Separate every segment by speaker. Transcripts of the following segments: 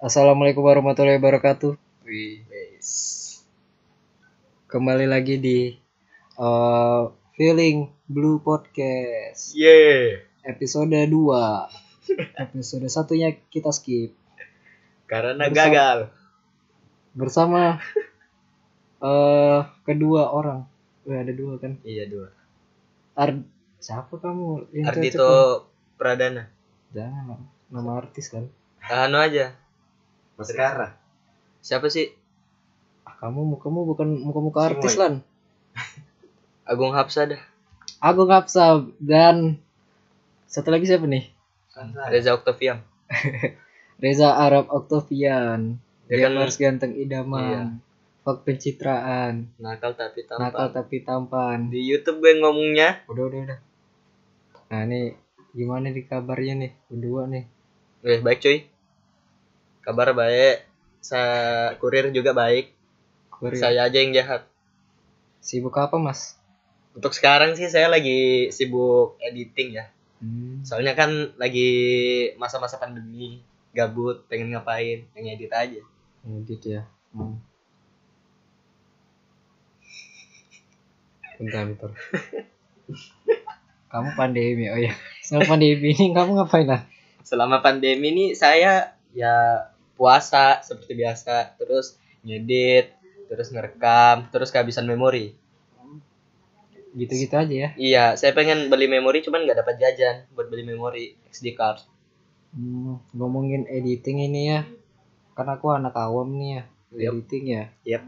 Speaker 1: Assalamualaikum warahmatullahi wabarakatuh. Kembali lagi di eh, Feeling Blue Podcast
Speaker 2: Yeay.
Speaker 1: episode 2. Episode satunya kita skip
Speaker 2: Karena
Speaker 1: Bersama-
Speaker 2: gagal.
Speaker 1: bersama eh kedua orang. Eh, ada dua kan?
Speaker 2: Iya dua.
Speaker 1: Ar siapa kamu? Yang cocok kamu?
Speaker 2: Ardito Pradana.
Speaker 1: Jangan nama artis kan?
Speaker 2: Anu aja.
Speaker 3: Maskara.
Speaker 2: Siapa sih?
Speaker 1: Ah, kamu mukamu bukan muka-muka artis
Speaker 3: Semua
Speaker 1: lan.
Speaker 2: Agung Hapsada.
Speaker 1: Agung Kapsa dan satu lagi siapa nih?
Speaker 2: Reza Octavian.
Speaker 1: Reza Arab Octavian
Speaker 2: Dia kan-
Speaker 1: Gamers ganteng idaman
Speaker 2: Iya.
Speaker 1: Fak pencitraan
Speaker 2: Nakal tapi tampan.
Speaker 1: Nakal tapi tampan
Speaker 2: Di YouTube gue ngomongnya.
Speaker 1: Udah udah udah Nah ini gimana nih kabarnya nih Berdua nih
Speaker 2: Eh, baik cuy. Kabar baik. Saya kurir juga baik.
Speaker 1: Kurir.
Speaker 2: Saya aja yang jahat.
Speaker 1: Sibuk apa mas?
Speaker 2: Untuk sekarang sih saya lagi sibuk editing ya.
Speaker 1: Hmm.
Speaker 2: Soalnya kan lagi masa-masa pandemi, gabut, pengen ngapain, pengen edit aja.
Speaker 1: Ngedit ya hmm. Bentar bentar Kamu pandemi oh ya Selama pandemi ini kamu ngapain lah?
Speaker 2: selama pandemi ini saya ya puasa seperti biasa terus ngedit terus ngerekam terus kehabisan memori
Speaker 1: Gitu-gitu aja ya
Speaker 2: iya saya pengen beli memori cuman nggak dapat jajan buat beli memori SD card
Speaker 1: Hmm, ngomongin editing ini ya, kan aku anak awam nih ya,
Speaker 2: Yap.
Speaker 1: editing ya.
Speaker 2: Yap.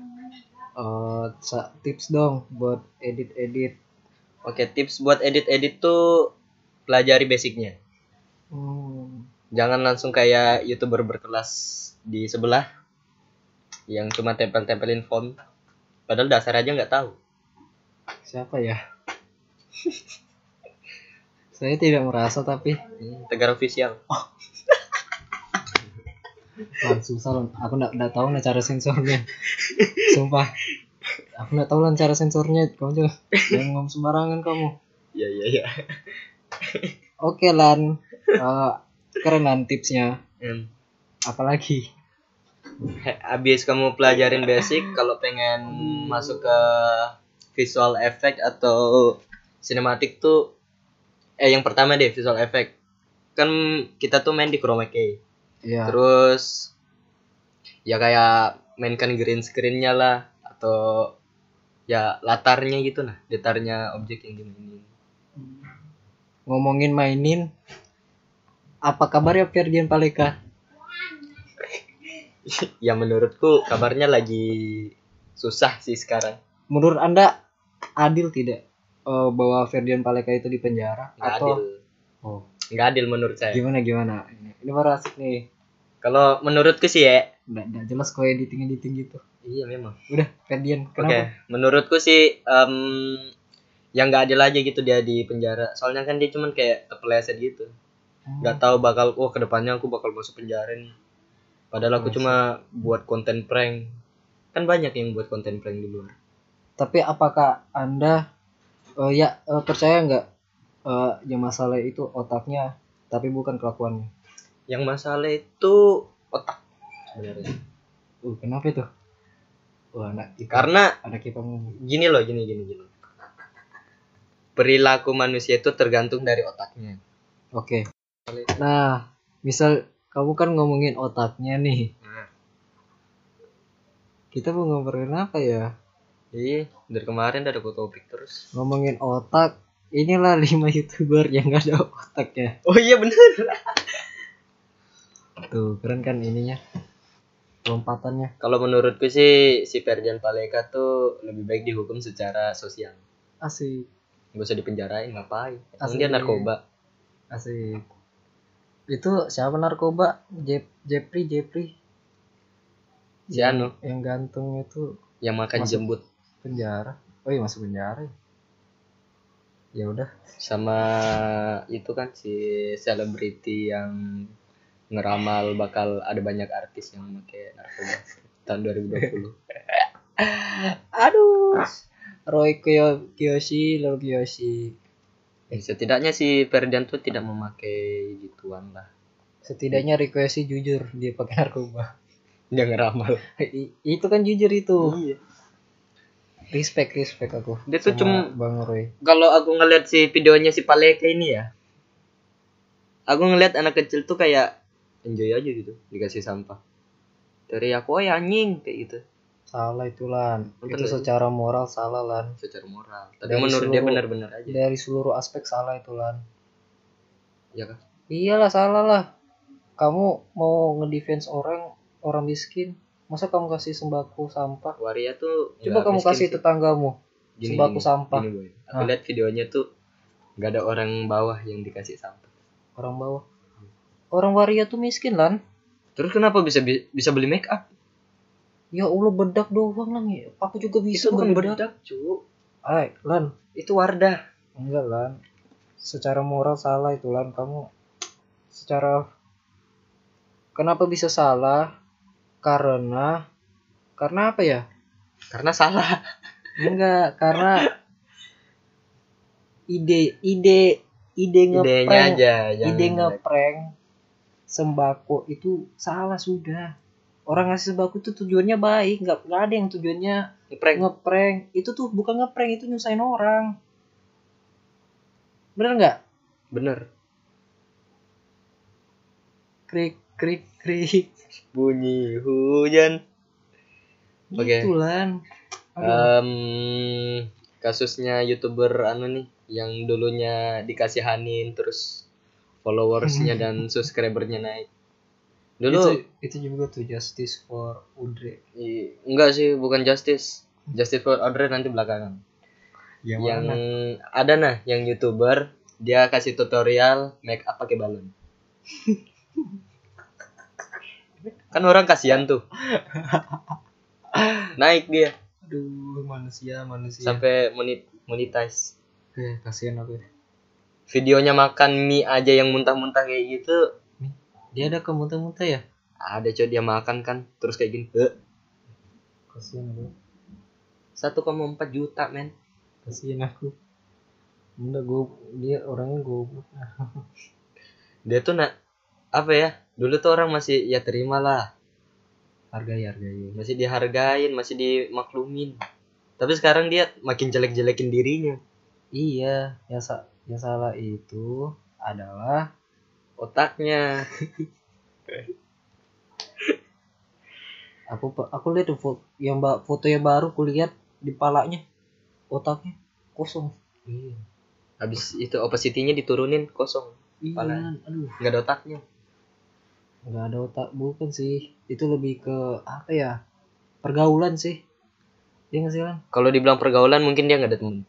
Speaker 1: Eh, sa- tips dong buat edit-edit.
Speaker 2: oke tips buat edit edit tuh pelajari basicnya
Speaker 1: Hmm,
Speaker 2: jangan langsung kayak youtuber berkelas di sebelah yang cuma tempel-tempelin font padahal dasar aja nggak tahu
Speaker 1: siapa ya? Saya tidak merasa tapi
Speaker 2: tegar official
Speaker 1: langsung salon. Aku nggak nggak tahu lah cara sensornya. Sumpah, aku nggak tahu lah cara sensornya. Kamu juga jangan ngomong sembarangan kamu.
Speaker 2: iya iya iya
Speaker 1: Oke lan, Eh, keren lan tipsnya.
Speaker 2: Hmm.
Speaker 1: Apalagi?
Speaker 2: He- Abis kamu pelajarin
Speaker 1: Iya.
Speaker 2: basic, kalau pengen
Speaker 1: Hmm.
Speaker 2: masuk ke visual effect atau cinematic tuh, eh yang pertama deh visual effect. Kan kita tuh main di chroma key.
Speaker 1: Iya.
Speaker 2: Terus ya kayak mainkan green screen-nya lah atau ya latarnya gitu nah, latarnya objek yang dimainin.
Speaker 1: ngomongin mainin apa kabar ya Ferdian Paleka
Speaker 2: Ya menurutku kabarnya lagi susah sih sekarang.
Speaker 1: menurut anda adil tidak eh, bahwa Ferdian Paleka itu di penjara
Speaker 2: Nggak
Speaker 1: atau
Speaker 2: adil.
Speaker 1: Oh,
Speaker 2: Nggak adil ya. menurut saya.
Speaker 1: gimana gimana ini, ini baru asik nih
Speaker 2: Kalau menurutku sih ya,
Speaker 1: nggak, nggak jelas kok editing editing gitu
Speaker 2: Iya memang.
Speaker 1: udah Ferdian
Speaker 2: Oke,
Speaker 1: kenapa
Speaker 2: menurutku sih em, yang nggak adil aja gitu dia di penjara. Soalnya kan dia cuman kayak kepleset gitu.
Speaker 1: Hmm,
Speaker 2: Nggak tahu bakal, wah kedepannya aku bakal masuk penjara nih. Padahal aku
Speaker 1: Yes.
Speaker 2: cuma buat konten prank. Kan banyak yang buat konten prank di luar.
Speaker 1: tapi apakah anda eh, ya eh, percaya nggak eh, yang masalah itu otaknya tapi bukan kelakuannya
Speaker 2: Yang masalah itu otak sebenarnya.
Speaker 1: uh kenapa itu wah anak IPA
Speaker 2: Karena
Speaker 1: anak IPA ngomong.
Speaker 2: gini loh, gini gini gini. Perilaku manusia itu tergantung dari otaknya.
Speaker 1: Oke. Nah, misal kamu kan ngomongin otaknya nih.
Speaker 2: Nah.
Speaker 1: Kita mau ngomongin apa ya?
Speaker 2: Jadi Iya, dari kemarin udah ada topik terus.
Speaker 1: Ngomongin otak. Inilah 5 youtuber yang gak ada otaknya.
Speaker 2: Oh iya bener.
Speaker 1: Tuh, keren kan ininya. Lompatannya.
Speaker 2: Kalau menurutku sih si Ferdian Paleka tuh lebih baik dihukum secara sosial.
Speaker 1: Asik,
Speaker 2: Gak usah dipenjarain ngapain? Emang
Speaker 1: Asli.
Speaker 2: dia narkoba.
Speaker 1: asik. Itu siapa narkoba? Jep Jepri, Jepri.
Speaker 2: Si Anu
Speaker 1: Yang gantung itu
Speaker 2: yang makan
Speaker 1: Masuk.
Speaker 2: jembut
Speaker 1: penjara. Oh iya masuk penjara. ya? Ya udah.
Speaker 2: sama itu kan si selebriti yang ngeramal bakal ada banyak artis yang pakai narkoba tahun 2020.
Speaker 1: Aduh. Roy Kiyo- Kiyoshi, Lord Kiyoshi.
Speaker 2: Eh, setidaknya si Ferdian tuh tidak memakai gituan lah.
Speaker 1: setidaknya requestnya jujur dia pakai narkoba
Speaker 2: Jangan ramal.
Speaker 1: I- itu kan jujur itu respect respect aku
Speaker 2: Dia tuh
Speaker 1: sama
Speaker 2: cuma-
Speaker 1: bang Roy
Speaker 2: Kalau aku ngeliat si videonya si Paleka ini ya. Aku ngeliat anak kecil tuh kayak enjoy aja gitu dikasih sampah. Dari aku oh ya anjing kayak gitu
Speaker 1: salah itu lan
Speaker 2: Bener,
Speaker 1: itu
Speaker 2: Lan.
Speaker 1: secara moral salah lan
Speaker 2: secara moral. Tapi
Speaker 1: Dari
Speaker 2: menurut dia
Speaker 1: seluruh-
Speaker 2: benar-benar aja.
Speaker 1: dari seluruh aspek salah itu lan
Speaker 2: Ya kan?
Speaker 1: iyalah salah lah kamu mau ngedefense orang orang miskin masa kamu kasih sembako sampah
Speaker 2: Waria tuh
Speaker 1: coba
Speaker 2: nggak
Speaker 1: kamu
Speaker 2: Iya, miskin
Speaker 1: kasih
Speaker 2: sih.
Speaker 1: tetanggamu
Speaker 2: Gini,
Speaker 1: sembako
Speaker 2: gini,
Speaker 1: sampah
Speaker 2: gini, Boy. Aku
Speaker 1: Ah.
Speaker 2: lihat videonya tuh nggak ada orang bawah yang dikasih sampah.
Speaker 1: orang bawah orang waria tuh miskin lan
Speaker 2: Terus kenapa bisa bi- bisa beli make up?
Speaker 1: ya allah bedak doang lan ya. aku juga bisa
Speaker 2: Itu bukan
Speaker 1: berbedak.
Speaker 2: bedak, cu.
Speaker 1: Ay, lan
Speaker 2: Itu Wardah.
Speaker 1: enggak lan secara moral salah itu lan kamu secara kenapa bisa salah karena karena apa ya
Speaker 2: Karena salah.
Speaker 1: enggak karena ide ide ide
Speaker 2: Idenya
Speaker 1: ngeprank
Speaker 2: aja. jangan
Speaker 1: ide ngeprank sembako itu salah sudah orang ngasih sembako itu tujuannya baik nggak nggak ada yang tujuannya
Speaker 2: ngeprank.
Speaker 1: ngeprank itu tuh bukan ngeprank itu nyusahin orang bener nggak
Speaker 2: Bener.
Speaker 1: krik krik krik
Speaker 2: Bunyi hujan. Oke. Eh,
Speaker 1: gitu lan Aduh,
Speaker 2: Em, kasusnya youtuber anu nih yang dulunya dikasihanin terus followersnya dan subscribernya naik. Dulu
Speaker 1: Hmm. itu, itu juga tuh justice for Udre
Speaker 2: i- enggak sih bukan justice. Justice for Audrey nanti belakangan. yang
Speaker 1: mana?
Speaker 2: ada nah yang youtuber dia kasih tutorial make up pakai balon kan orang kasihan tuh naik dia
Speaker 1: aduh manusia manusia
Speaker 2: sampai monet- monetize
Speaker 1: eh, kasihan aku
Speaker 2: videonya makan mie aja yang muntah-muntah kayak gitu
Speaker 1: dia ada kemuntah-muntah ya
Speaker 2: ada cowok dia makan kan terus kayak gini "Eh,
Speaker 1: kasihan aku
Speaker 2: 1,4 juta men
Speaker 1: kasihan aku Enggak, gue dia orangnya goblok
Speaker 2: dia tuh nak apa ya dulu tuh orang masih ya terima lah
Speaker 1: hargai hargai
Speaker 2: masih dihargain masih dimaklumin tapi sekarang dia makin jelek-jelekin dirinya
Speaker 1: iya yang, sa- yang salah itu adalah
Speaker 2: otaknya
Speaker 1: aku pe- aku lihat tuh foto yang ba- foto yang baru kulihat di palanya otaknya kosong iya
Speaker 2: habis itu opacity-nya diturunin kosong Palanya.
Speaker 1: Lan. aduh
Speaker 2: nggak ada otaknya
Speaker 1: Iya. nggak ada otak bukan sih itu lebih ke apa ya pergaulan sih Iya nggak sih Lan?
Speaker 2: kalau dibilang pergaulan mungkin dia nggak ada temen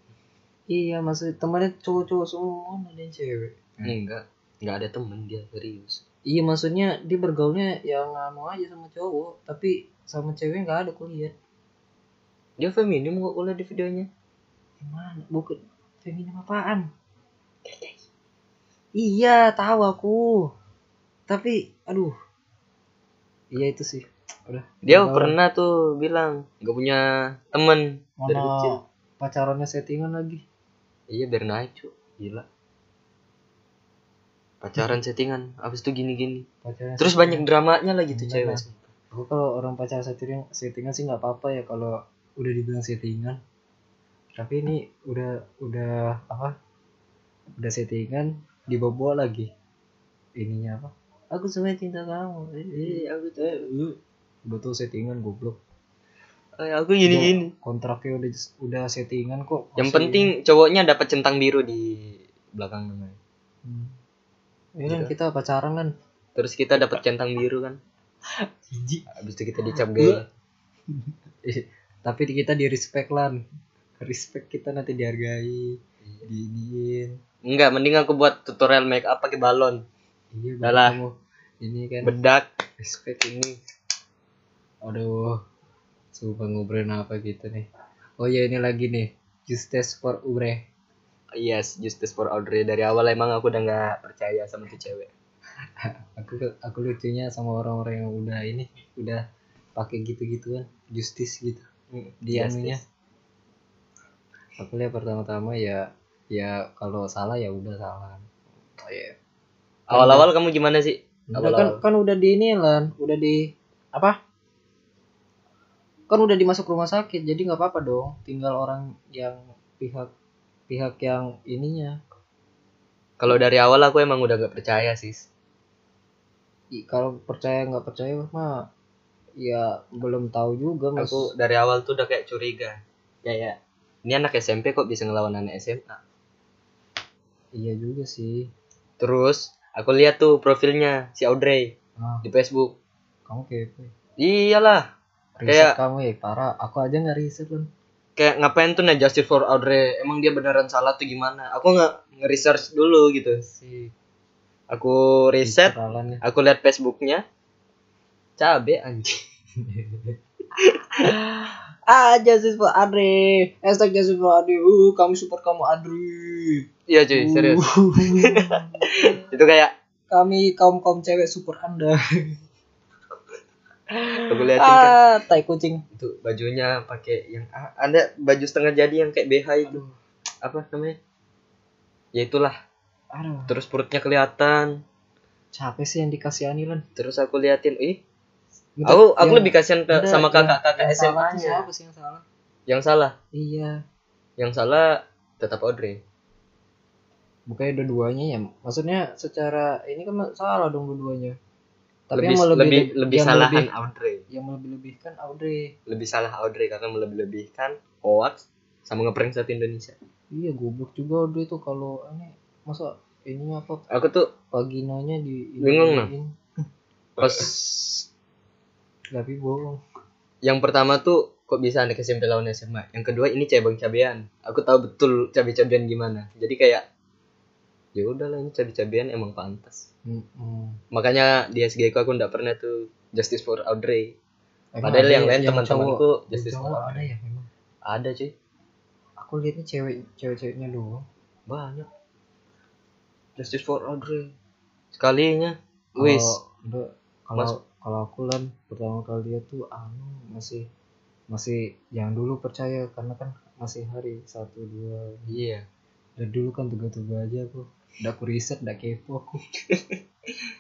Speaker 1: iya maksud temannya cowok-cowok semua ada yang cewek
Speaker 2: enggak nggak ada temen dia serius
Speaker 1: Iya maksudnya dia bergaulnya yang anu aja sama cowok, tapi sama cewek nggak ada kulihat.
Speaker 2: dia feminim kok kalau di videonya
Speaker 1: Gimana? Bukan feminim apaan? Iya tahu aku, tapi aduh, iya itu sih. Udah.
Speaker 2: dia
Speaker 1: Pergaulan.
Speaker 2: pernah tuh bilang nggak punya temen dari
Speaker 1: Mana
Speaker 2: kecil
Speaker 1: pacarannya settingan lagi?
Speaker 2: iya biar naik cu gila pacaran settingan habis itu gini-gini
Speaker 1: Pacaran
Speaker 2: terus banyak dramanya lagi tuh
Speaker 1: Enggak lah.
Speaker 2: cewek
Speaker 1: Aku gitu, kalau orang pacaran settingan, settingan sih nggak apa-apa ya kalau udah dibilang settingan. Tapi ini udah udah apa? Udah settingan dibawa lagi. Ininya apa? Aku suka cinta kamu. Eh, eh,
Speaker 2: aku
Speaker 1: eh, eh. Udah tuh settingan goblok.
Speaker 2: Eh, aku gini-gini
Speaker 1: Udah Kontraknya udah udah settingan kok. masih-
Speaker 2: yang penting cowoknya dapat centang biru di belakang namanya
Speaker 1: Hmm. Ya kan
Speaker 2: Udah.
Speaker 1: kita pacaran kan.
Speaker 2: terus kita dapat centang biru kan
Speaker 1: Jijik.
Speaker 2: habis itu kita dicap gaya
Speaker 1: Eh, tapi kita di respect lan. Respect kita nanti dihargai,
Speaker 2: Iya.
Speaker 1: diiniin.
Speaker 2: enggak mending aku buat tutorial make up pakai balon
Speaker 1: Iya,
Speaker 2: Udah lah.
Speaker 1: kamu. Ini kan
Speaker 2: bedak
Speaker 1: respect ini. Aduh. Sumpah ngobrolin apa gitu nih. Oh ya ini lagi nih. Justice for Ubre.
Speaker 2: yes justice for Audrey dari awal emang aku udah nggak percaya sama tuh cewek
Speaker 1: Aku aku lucunya sama orang-orang yang udah ini udah pakai gitu-gituan, justice gitu. Dia anunya.
Speaker 2: Justice.
Speaker 1: Aku lihat pertama-tama ya ya kalau salah ya udah salah. Oh iya.
Speaker 2: awal-awal kamu gimana sih
Speaker 1: Udah kan kan udah di ini lan, udah di apa? Kan udah dimasuk rumah sakit, jadi nggak apa-apa dong. Tinggal orang yang pihak pihak yang ininya.
Speaker 2: Kalau dari awal aku emang udah gak percaya sih.
Speaker 1: I- Kalau percaya nggak percaya mah ya belum tahu juga mas.
Speaker 2: Aku dari awal tuh udah kayak curiga. Kayak ini anak SMP kok bisa ngelawan anak SMA.
Speaker 1: Iya juga sih.
Speaker 2: Terus aku lihat tuh profilnya si Audrey
Speaker 1: Ah,
Speaker 2: di Facebook.
Speaker 1: kamu kepo.
Speaker 2: Iyalah,
Speaker 1: Riset
Speaker 2: Kayak-
Speaker 1: kamu ya parah. Aku aja nggak riset lan.
Speaker 2: kayak ngapain tuh nah justice for Audrey? Emang dia beneran salah tuh gimana? Aku nggak nge-research dulu gitu.
Speaker 1: Si
Speaker 2: Aku riset,
Speaker 1: Lan ya.
Speaker 2: aku lihat Facebooknya. Cabe anjing.
Speaker 1: Ah, Justice for Adri. Hashtag Justice for Adri. Uh, kami support kamu Adri.
Speaker 2: Iya cuy, serius.
Speaker 1: Uh.
Speaker 2: Itu kayak
Speaker 1: kami kaum kaum cewek support anda.
Speaker 2: aku liatin kan.
Speaker 1: ah, tai kucing.
Speaker 2: Itu bajunya pakai yang ah, ada baju setengah jadi yang kayak BH itu.
Speaker 1: Aduh,
Speaker 2: Apa namanya? Ya itulah.
Speaker 1: aduh.
Speaker 2: Terus perutnya kelihatan.
Speaker 1: Capek sih yang dikasihani lan.
Speaker 2: Terus aku liatin, ih, aku aku lebih kasihan
Speaker 1: Udah,
Speaker 2: ke, sama
Speaker 1: yang-
Speaker 2: kakak-kakak
Speaker 1: iya. yang salah tuh
Speaker 2: SMA-nya.
Speaker 1: Siapa sih yang salah?
Speaker 2: Yang salah,
Speaker 1: Iya.
Speaker 2: yang salah tetap Audrey.
Speaker 1: Bukannya dua-duanya ya? Maksudnya secara ini kan salah dong dua-duanya. Tapi
Speaker 2: lebih
Speaker 1: yang
Speaker 2: lebih lebih,
Speaker 1: melebih- yang
Speaker 2: salahan
Speaker 1: melebih-
Speaker 2: Audrey.
Speaker 1: yang melebih-lebihkan Audrey.
Speaker 2: Lebih salah Audrey karena melebih-lebihkan hoax sama ngeprank satu Indonesia.
Speaker 1: Iya, goblok juga Audrey tuh kalau ini masa ini apa
Speaker 2: Aku tuh
Speaker 1: vaginonya di
Speaker 2: Bingung, nah.
Speaker 1: iniin.
Speaker 2: pas
Speaker 1: tapi bohong
Speaker 2: yang pertama tuh kok bisa anak SMP lawan SMA. Yang kedua ini cabang cabean. Aku tahu betul cabe-cabean gimana. Jadi kayak ya udahlah ini cabe-cabean emang pantas. Makanya di SG ku aku nggak pernah tuh justice for Audrey.
Speaker 1: Emang
Speaker 2: Padahal
Speaker 1: ada
Speaker 2: yang lain
Speaker 1: cowok-
Speaker 2: teman-temanku
Speaker 1: yang
Speaker 2: justice for
Speaker 1: cowok ada
Speaker 2: Audrey.
Speaker 1: ya memang
Speaker 2: Ada cuy.
Speaker 1: aku lihatnya cewek cewek ceweknya doang
Speaker 2: Banyak. Justice for Audrey. Sekalinya. Wis.
Speaker 1: Kalau- enggak, kalau kalau aku lan pertama kali lihat tuh anu masih masih yang dulu percaya karena kan masih hari satu dua
Speaker 2: Iya.
Speaker 1: dari dulu kan tugas-tugas aja aku udah aku riset udah kepo aku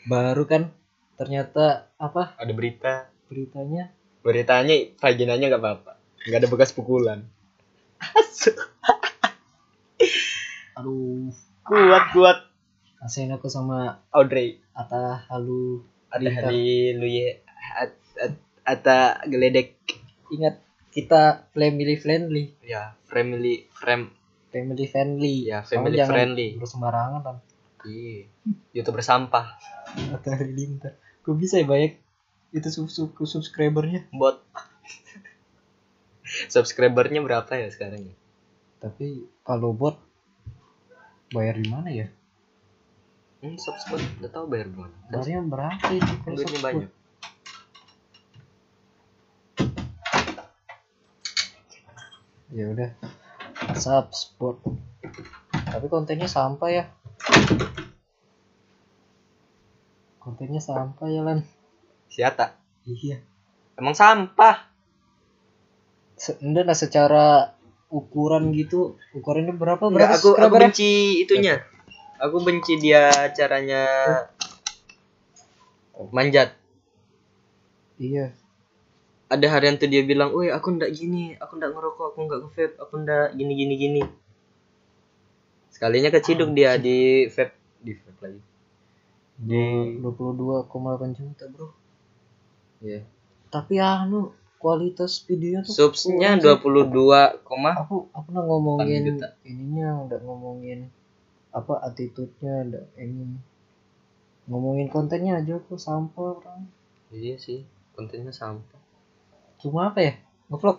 Speaker 1: baru kan ternyata apa
Speaker 2: Ada berita.
Speaker 1: beritanya
Speaker 2: Beritanya vaginanya nggak apa-apa. Nggak ada bekas pukulan.
Speaker 1: aduh
Speaker 2: Kuat kuat
Speaker 1: kasihin aku sama
Speaker 2: Audrey.
Speaker 1: Atta Halu
Speaker 2: Ada
Speaker 1: Berita.
Speaker 2: hari lu ya. at- at- Ata geledek.
Speaker 1: ingat kita family friendly
Speaker 2: Ya family frame.
Speaker 1: family friendly
Speaker 2: Ya
Speaker 1: Kamu
Speaker 2: family
Speaker 1: jangan
Speaker 2: friendly.
Speaker 1: terus sembarangan kan
Speaker 2: Iya. Youtuber sampah.
Speaker 1: atau halilintar gue bisa ya banyak itu sub sub subscribernya
Speaker 2: Bot. Subscribernya berapa ya sekarang ya?
Speaker 1: tapi kalau bot bayar di mana ya
Speaker 2: Hmm, subscribe udah tahu bayar berapa?
Speaker 1: bayarnya berapa ya? Kalau
Speaker 2: Duitnya
Speaker 1: sub-
Speaker 2: banyak.
Speaker 1: ya udah subspot tapi kontennya sampah ya kontennya sampah ya lan
Speaker 2: Siata.
Speaker 1: iya
Speaker 2: Emang sampah.
Speaker 1: Se enggak lah secara ukuran gitu ukurannya berapa berapa
Speaker 2: aku aku
Speaker 1: subscribernya?
Speaker 2: benci itunya. Aku benci dia caranya manjat.
Speaker 1: iya
Speaker 2: Ada harian tuh dia bilang, "Woi, aku ndak gini, aku ndak ngerokok, aku nggak nge-vape, aku ndak gini gini gini." Sekalinya keciduk dia di vape di vape lagi. Di-
Speaker 1: dua puluh dua koma delapan juta bro
Speaker 2: Iya.
Speaker 1: tapi anu kualitas videonya tuh
Speaker 2: Subsnya
Speaker 1: kurang sih.
Speaker 2: 22, koma-
Speaker 1: aku aku udah ngomongin
Speaker 2: Delapan juta.
Speaker 1: ininya udah ngomongin apa attitude-nya udah ini ngomongin kontennya aja aku sampel orang
Speaker 2: Iya sih, kontennya sampah.
Speaker 1: cuma apa ya ngevlog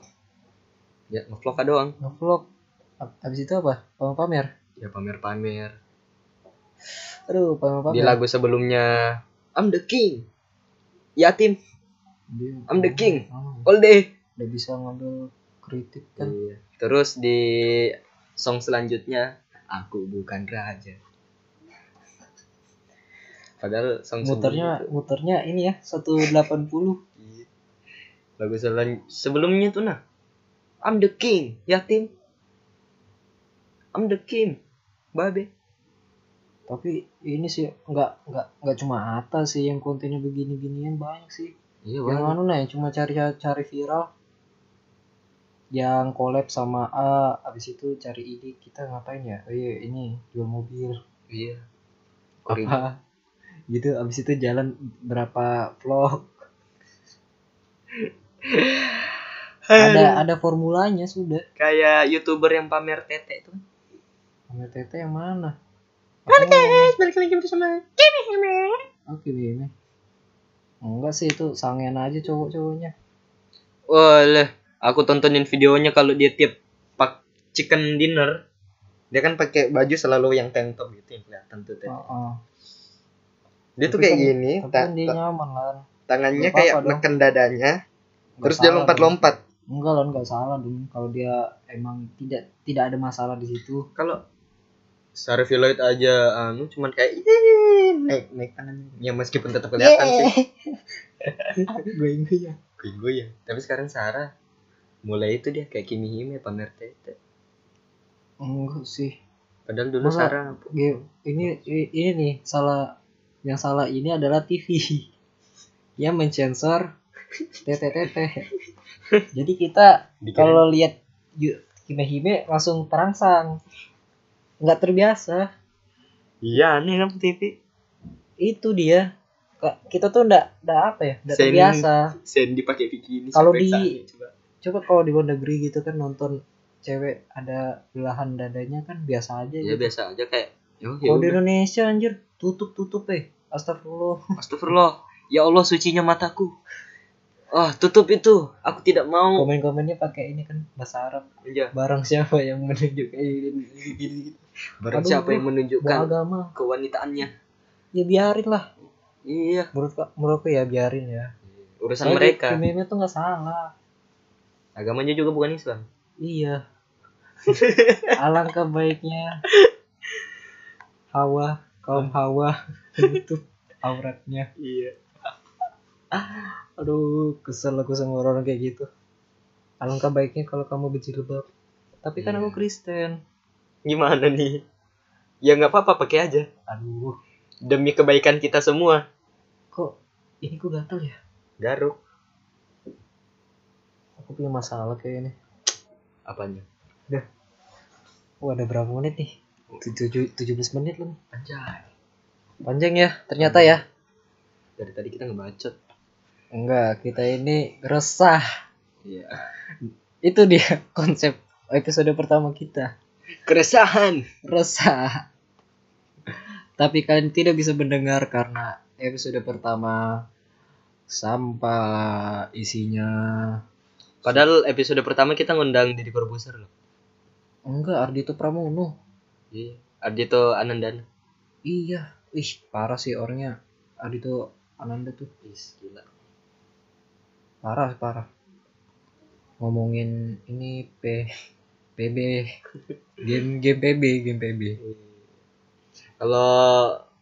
Speaker 2: Ya, ngevlog aja doang.
Speaker 1: ngevlog Ab- abis itu apa pamer pamer
Speaker 2: Ya pamer-pamer.
Speaker 1: aduh pamer pamer
Speaker 2: Di lagu sebelumnya, I'm the king. Yatim,
Speaker 1: Dia,
Speaker 2: I'm the king.
Speaker 1: oh,
Speaker 2: all day.
Speaker 1: udah bisa ngambil kritik kan
Speaker 2: Iya. Terus di song selanjutnya aku bukan raja. Padahal song
Speaker 1: muternya
Speaker 2: sebelumnya
Speaker 1: muternya ini ya 180
Speaker 2: tuh- Iya. lagu selan- sebelumnya tuh nah I'm the king yatim I'm the king babe
Speaker 1: tapi ini sih nggak nggak nggak cuma atas sih yang kontennya begini ginian banyak sih
Speaker 2: Iya
Speaker 1: yang
Speaker 2: banget.
Speaker 1: anu nah yang cuma cari cari viral yang collab sama A abis itu cari ini kita ngapain ya oh iya ini jual mobil
Speaker 2: Iya. Korea.
Speaker 1: apa gitu abis itu jalan berapa vlog
Speaker 2: Eh.
Speaker 1: ada ada formulanya sudah
Speaker 2: Kayak youtuber yang pamer tete itu.
Speaker 1: MTT yang mana Aku mau-
Speaker 2: balik lagi bersama.
Speaker 1: Oke Bime. Enggak sih itu sangen aja cowok-cowoknya.
Speaker 2: Walah, aku tontonin videonya kalau dia tiap pak chicken dinner. Dia kan pakai baju selalu yang tank top gitu yang kelihatan tuh. Tete.
Speaker 1: Heeh.
Speaker 2: Dia tuh
Speaker 1: Oh, Tapi
Speaker 2: kayak
Speaker 1: kan-
Speaker 2: gini,
Speaker 1: Tapi
Speaker 2: ta-
Speaker 1: kan dia
Speaker 2: ta-
Speaker 1: nyaman lah.
Speaker 2: tangannya
Speaker 1: nggak apa-apa
Speaker 2: kayak
Speaker 1: dong.
Speaker 2: neken dadanya,
Speaker 1: Nggak
Speaker 2: terus dia
Speaker 1: salah
Speaker 2: lompat-lompat.
Speaker 1: dong. Enggak lah, enggak salah dong. Kalau dia emang tidak tidak ada masalah di situ.
Speaker 2: Kalau Sarif Lloyd aja anu cuman kayak "Ih," naik naik tangannya. Ya meskipun tetap kelihatan sih.
Speaker 1: Gue ingat ya.
Speaker 2: Gue gue ya. Tapi sekarang Sarah mulai itu dia kayak Kimi Hime pamer tete.
Speaker 1: Enggak sih.
Speaker 2: Padahal dulu
Speaker 1: Masa-
Speaker 2: Sarah
Speaker 1: Gue- Ini i- ini nih salah yang salah ini adalah TV yang mensensor TTTT. Jadi kita
Speaker 2: dikira-
Speaker 1: kalau lihat yu- Hime-Hime langsung terangsang nggak terbiasa
Speaker 2: iya aneh kan TV.
Speaker 1: itu dia Ka- kita tuh ndak ndak apa ya ndak
Speaker 2: Sen-
Speaker 1: terbiasa
Speaker 2: Sandy pakai bikini
Speaker 1: Kalau
Speaker 2: sampai
Speaker 1: di-
Speaker 2: sana, coba.
Speaker 1: coba kalau di luar negeri gitu kan nonton cewek ada belahan dadanya kan biasa aja gitu.
Speaker 2: ya biasa aja kayak yo ya
Speaker 1: kalau di
Speaker 2: udah.
Speaker 1: Indonesia anjir tutup tutup eh astagfirullah
Speaker 2: astagfirullah ya Allah sucinya mataku ah tutup itu aku tidak mau
Speaker 1: komen komennya pakai ini kan bahasa Arab
Speaker 2: ya
Speaker 1: barang siapa yang menunjuk eh, ini, ini, ini, ini.
Speaker 2: barang
Speaker 1: Aduh,
Speaker 2: siapa yang menunjukkan
Speaker 1: beragama
Speaker 2: kewanitaannya
Speaker 1: ya biarin lah
Speaker 2: iya
Speaker 1: menurut menurutku ya biarin ya
Speaker 2: urusan
Speaker 1: Soalnya
Speaker 2: mereka
Speaker 1: Hime-Hime tuh nggak salah
Speaker 2: agamanya juga bukan Islam
Speaker 1: Iya. Alangkah baiknya Hawa, kaum Hawa menutup auratnya.
Speaker 2: iya
Speaker 1: Aduh, kesel aku sama orang kayak gitu. Alangkah baiknya kalau kamu berjilbab. Tapi kan
Speaker 2: Iya.
Speaker 1: aku Kristen.
Speaker 2: gimana nih ya nggak apa-apa pakai aja
Speaker 1: Aduh,
Speaker 2: demi kebaikan kita semua
Speaker 1: kok ini kok gatel ya?
Speaker 2: garuk
Speaker 1: Aku punya masalah kayak ini.
Speaker 2: apanya
Speaker 1: Wah, ada berapa menit nih? Tujuh- 17 menit loh.
Speaker 2: anjay
Speaker 1: Panjang ya, ternyata ya.
Speaker 2: dari tadi kita ngebacot
Speaker 1: Enggak, kita ini resah.
Speaker 2: iya
Speaker 1: Itu dia konsep episode pertama kita.
Speaker 2: keresahan
Speaker 1: resah. Tapi kalian tidak bisa mendengar karena episode pertama sampah isinya
Speaker 2: padahal episode pertama kita ngundang Deddy Corbuzier loh
Speaker 1: enggak Ardito Pramono.
Speaker 2: Iya. Ardito Anandana.
Speaker 1: Iya, ih parah sih orangnya. Ardito Ananda tuh
Speaker 2: Is, gila.
Speaker 1: parah parah. Ngomongin ini P PB game game PB game PB.
Speaker 2: Hmm. Kalau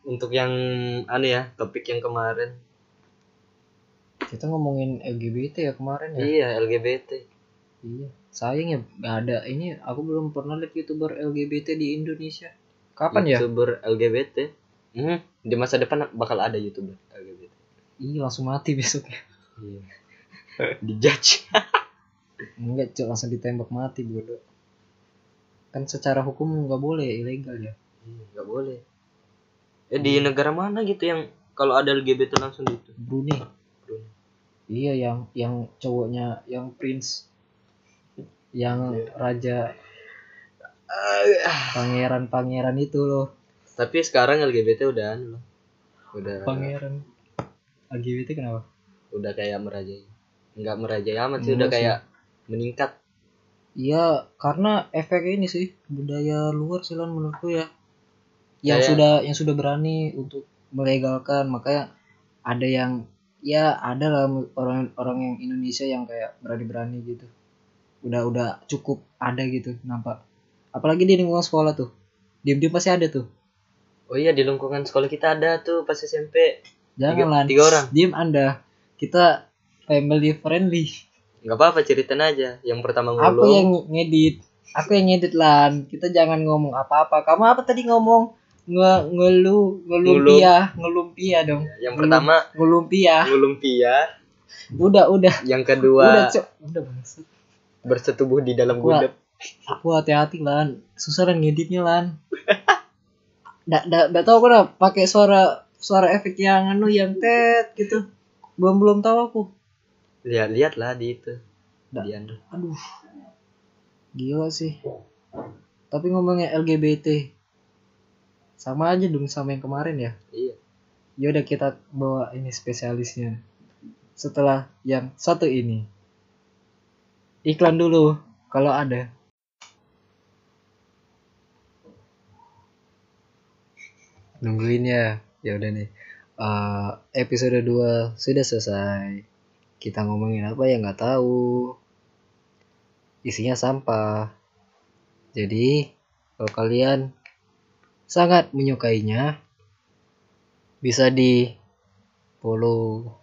Speaker 2: untuk yang anu ya, topik yang kemarin.
Speaker 1: Kita ngomongin LGBT ya kemarin ya.
Speaker 2: Iya, LGBT.
Speaker 1: Iya, sayang ya nggak ada. Ini aku belum pernah lihat youtuber LGBT di Indonesia. Kapan ya?
Speaker 2: YouTuber LGBT. Hmm, di masa depan bakal ada YouTuber LGBT.
Speaker 1: Ih, langsung mati besok.
Speaker 2: Iya. Di judge.
Speaker 1: Enggak, cok, langsung ditembak mati bodoh. Kan secara hukum nggak boleh ilegal ya.
Speaker 2: Enggak Iya, boleh. Eh di negara mana gitu yang kalau ada LGBT langsung gitu.
Speaker 1: Brunei.
Speaker 2: Brunei.
Speaker 1: Iya, yang yang cowoknya yang prince yang raja pangeran-pangeran itu loh.
Speaker 2: Tapi sekarang LGBT udah anu loh. Udah
Speaker 1: Pangeran LGBT kenapa?
Speaker 2: udah kayak merajai. Enggak merajai amat sih,
Speaker 1: Iya
Speaker 2: udah
Speaker 1: sih.
Speaker 2: kayak meningkat.
Speaker 1: Iya, karena efek ini sih budaya luar sih Lan, menurutku ya. Yang
Speaker 2: Kayak-
Speaker 1: sudah yang sudah berani untuk melegalkan, makanya ada yang ya ada lah orang-orang yang Indonesia yang kayak berani-berani gitu. Udah udah cukup ada gitu nampak. Apalagi di lingkungan sekolah tuh. Diam-diam pasti ada tuh.
Speaker 2: Oh iya di lingkungan sekolah kita ada tuh pas SMP.
Speaker 1: Janganlah.
Speaker 2: tiga orang.
Speaker 1: Diam Anda. Kita family friendly.
Speaker 2: Gak apa-apa ceritain aja. Yang pertama
Speaker 1: Aku
Speaker 2: ngulung.
Speaker 1: yang ngedit. Aku yang ngedit lan. Kita jangan ngomong apa-apa. Kamu apa tadi ngomong? nge ngelu ngelumpia ngelumpia dong Ngelu-
Speaker 2: Yang pertama
Speaker 1: ngelumpia
Speaker 2: ngulumpia,
Speaker 1: udah udah
Speaker 2: yang
Speaker 1: udah
Speaker 2: kedua
Speaker 1: cok udah bangsat
Speaker 2: bersetubuh di dalam
Speaker 1: Wah.
Speaker 2: gudeg.
Speaker 1: aku hati-hati lan susah lan ngeditnya lan nggak nggak nggak tahu aku dah pakai suara suara efek yang anu yang tet gitu belum belum tahu aku
Speaker 2: Lihat-lihat lah di itu.
Speaker 1: Nggak.
Speaker 2: Di Android.
Speaker 1: aduh gila sih tapi ngomongnya LGBT sama aja dong sama yang kemarin ya
Speaker 2: Iya.
Speaker 1: ya udah kita bawa ini spesialisnya setelah yang satu ini iklan dulu kalau ada nungguin ya ya udah nih Eh, episode 2 sudah selesai kita ngomongin apa yang nggak tahu isinya sampah jadi kalau kalian sangat menyukainya bisa di follow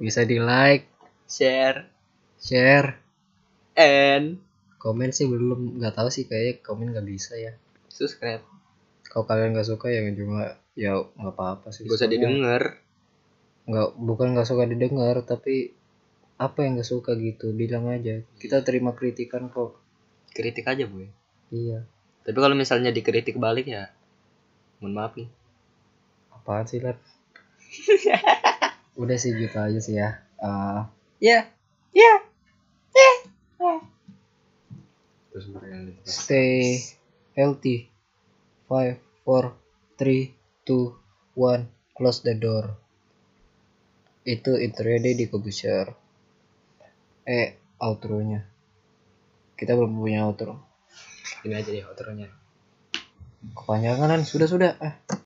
Speaker 1: bisa di like
Speaker 2: Share
Speaker 1: share
Speaker 2: and
Speaker 1: komen sih belum nggak tahu sih kayaknya komen nggak bisa ya
Speaker 2: subscribe.
Speaker 1: kalau kalian nggak suka ya cuma ya nggak apa-apa sih
Speaker 2: Gak usah
Speaker 1: Soalnya
Speaker 2: didengar.
Speaker 1: nggak bukan nggak suka didengar tapi apa yang nggak suka gitu bilang aja kita terima kritikan kok
Speaker 2: Kritik aja, Boy.
Speaker 1: iya
Speaker 2: Tapi kalau misalnya dikritik balik ya mohon maaf nih.
Speaker 1: apaan sih Lat? udah sih gitu aja sih ya Eh,
Speaker 2: Ya. Ya. Terus mereka-
Speaker 1: stay healthy. Five, four, three, two, one. Close the door. Itu intronya dia di Kebusher. Eh, outro-nya. Kita belum punya outro.
Speaker 2: ini aja deh outro-nya.
Speaker 1: Kepanjangan kan? Sudah-sudah. Ah.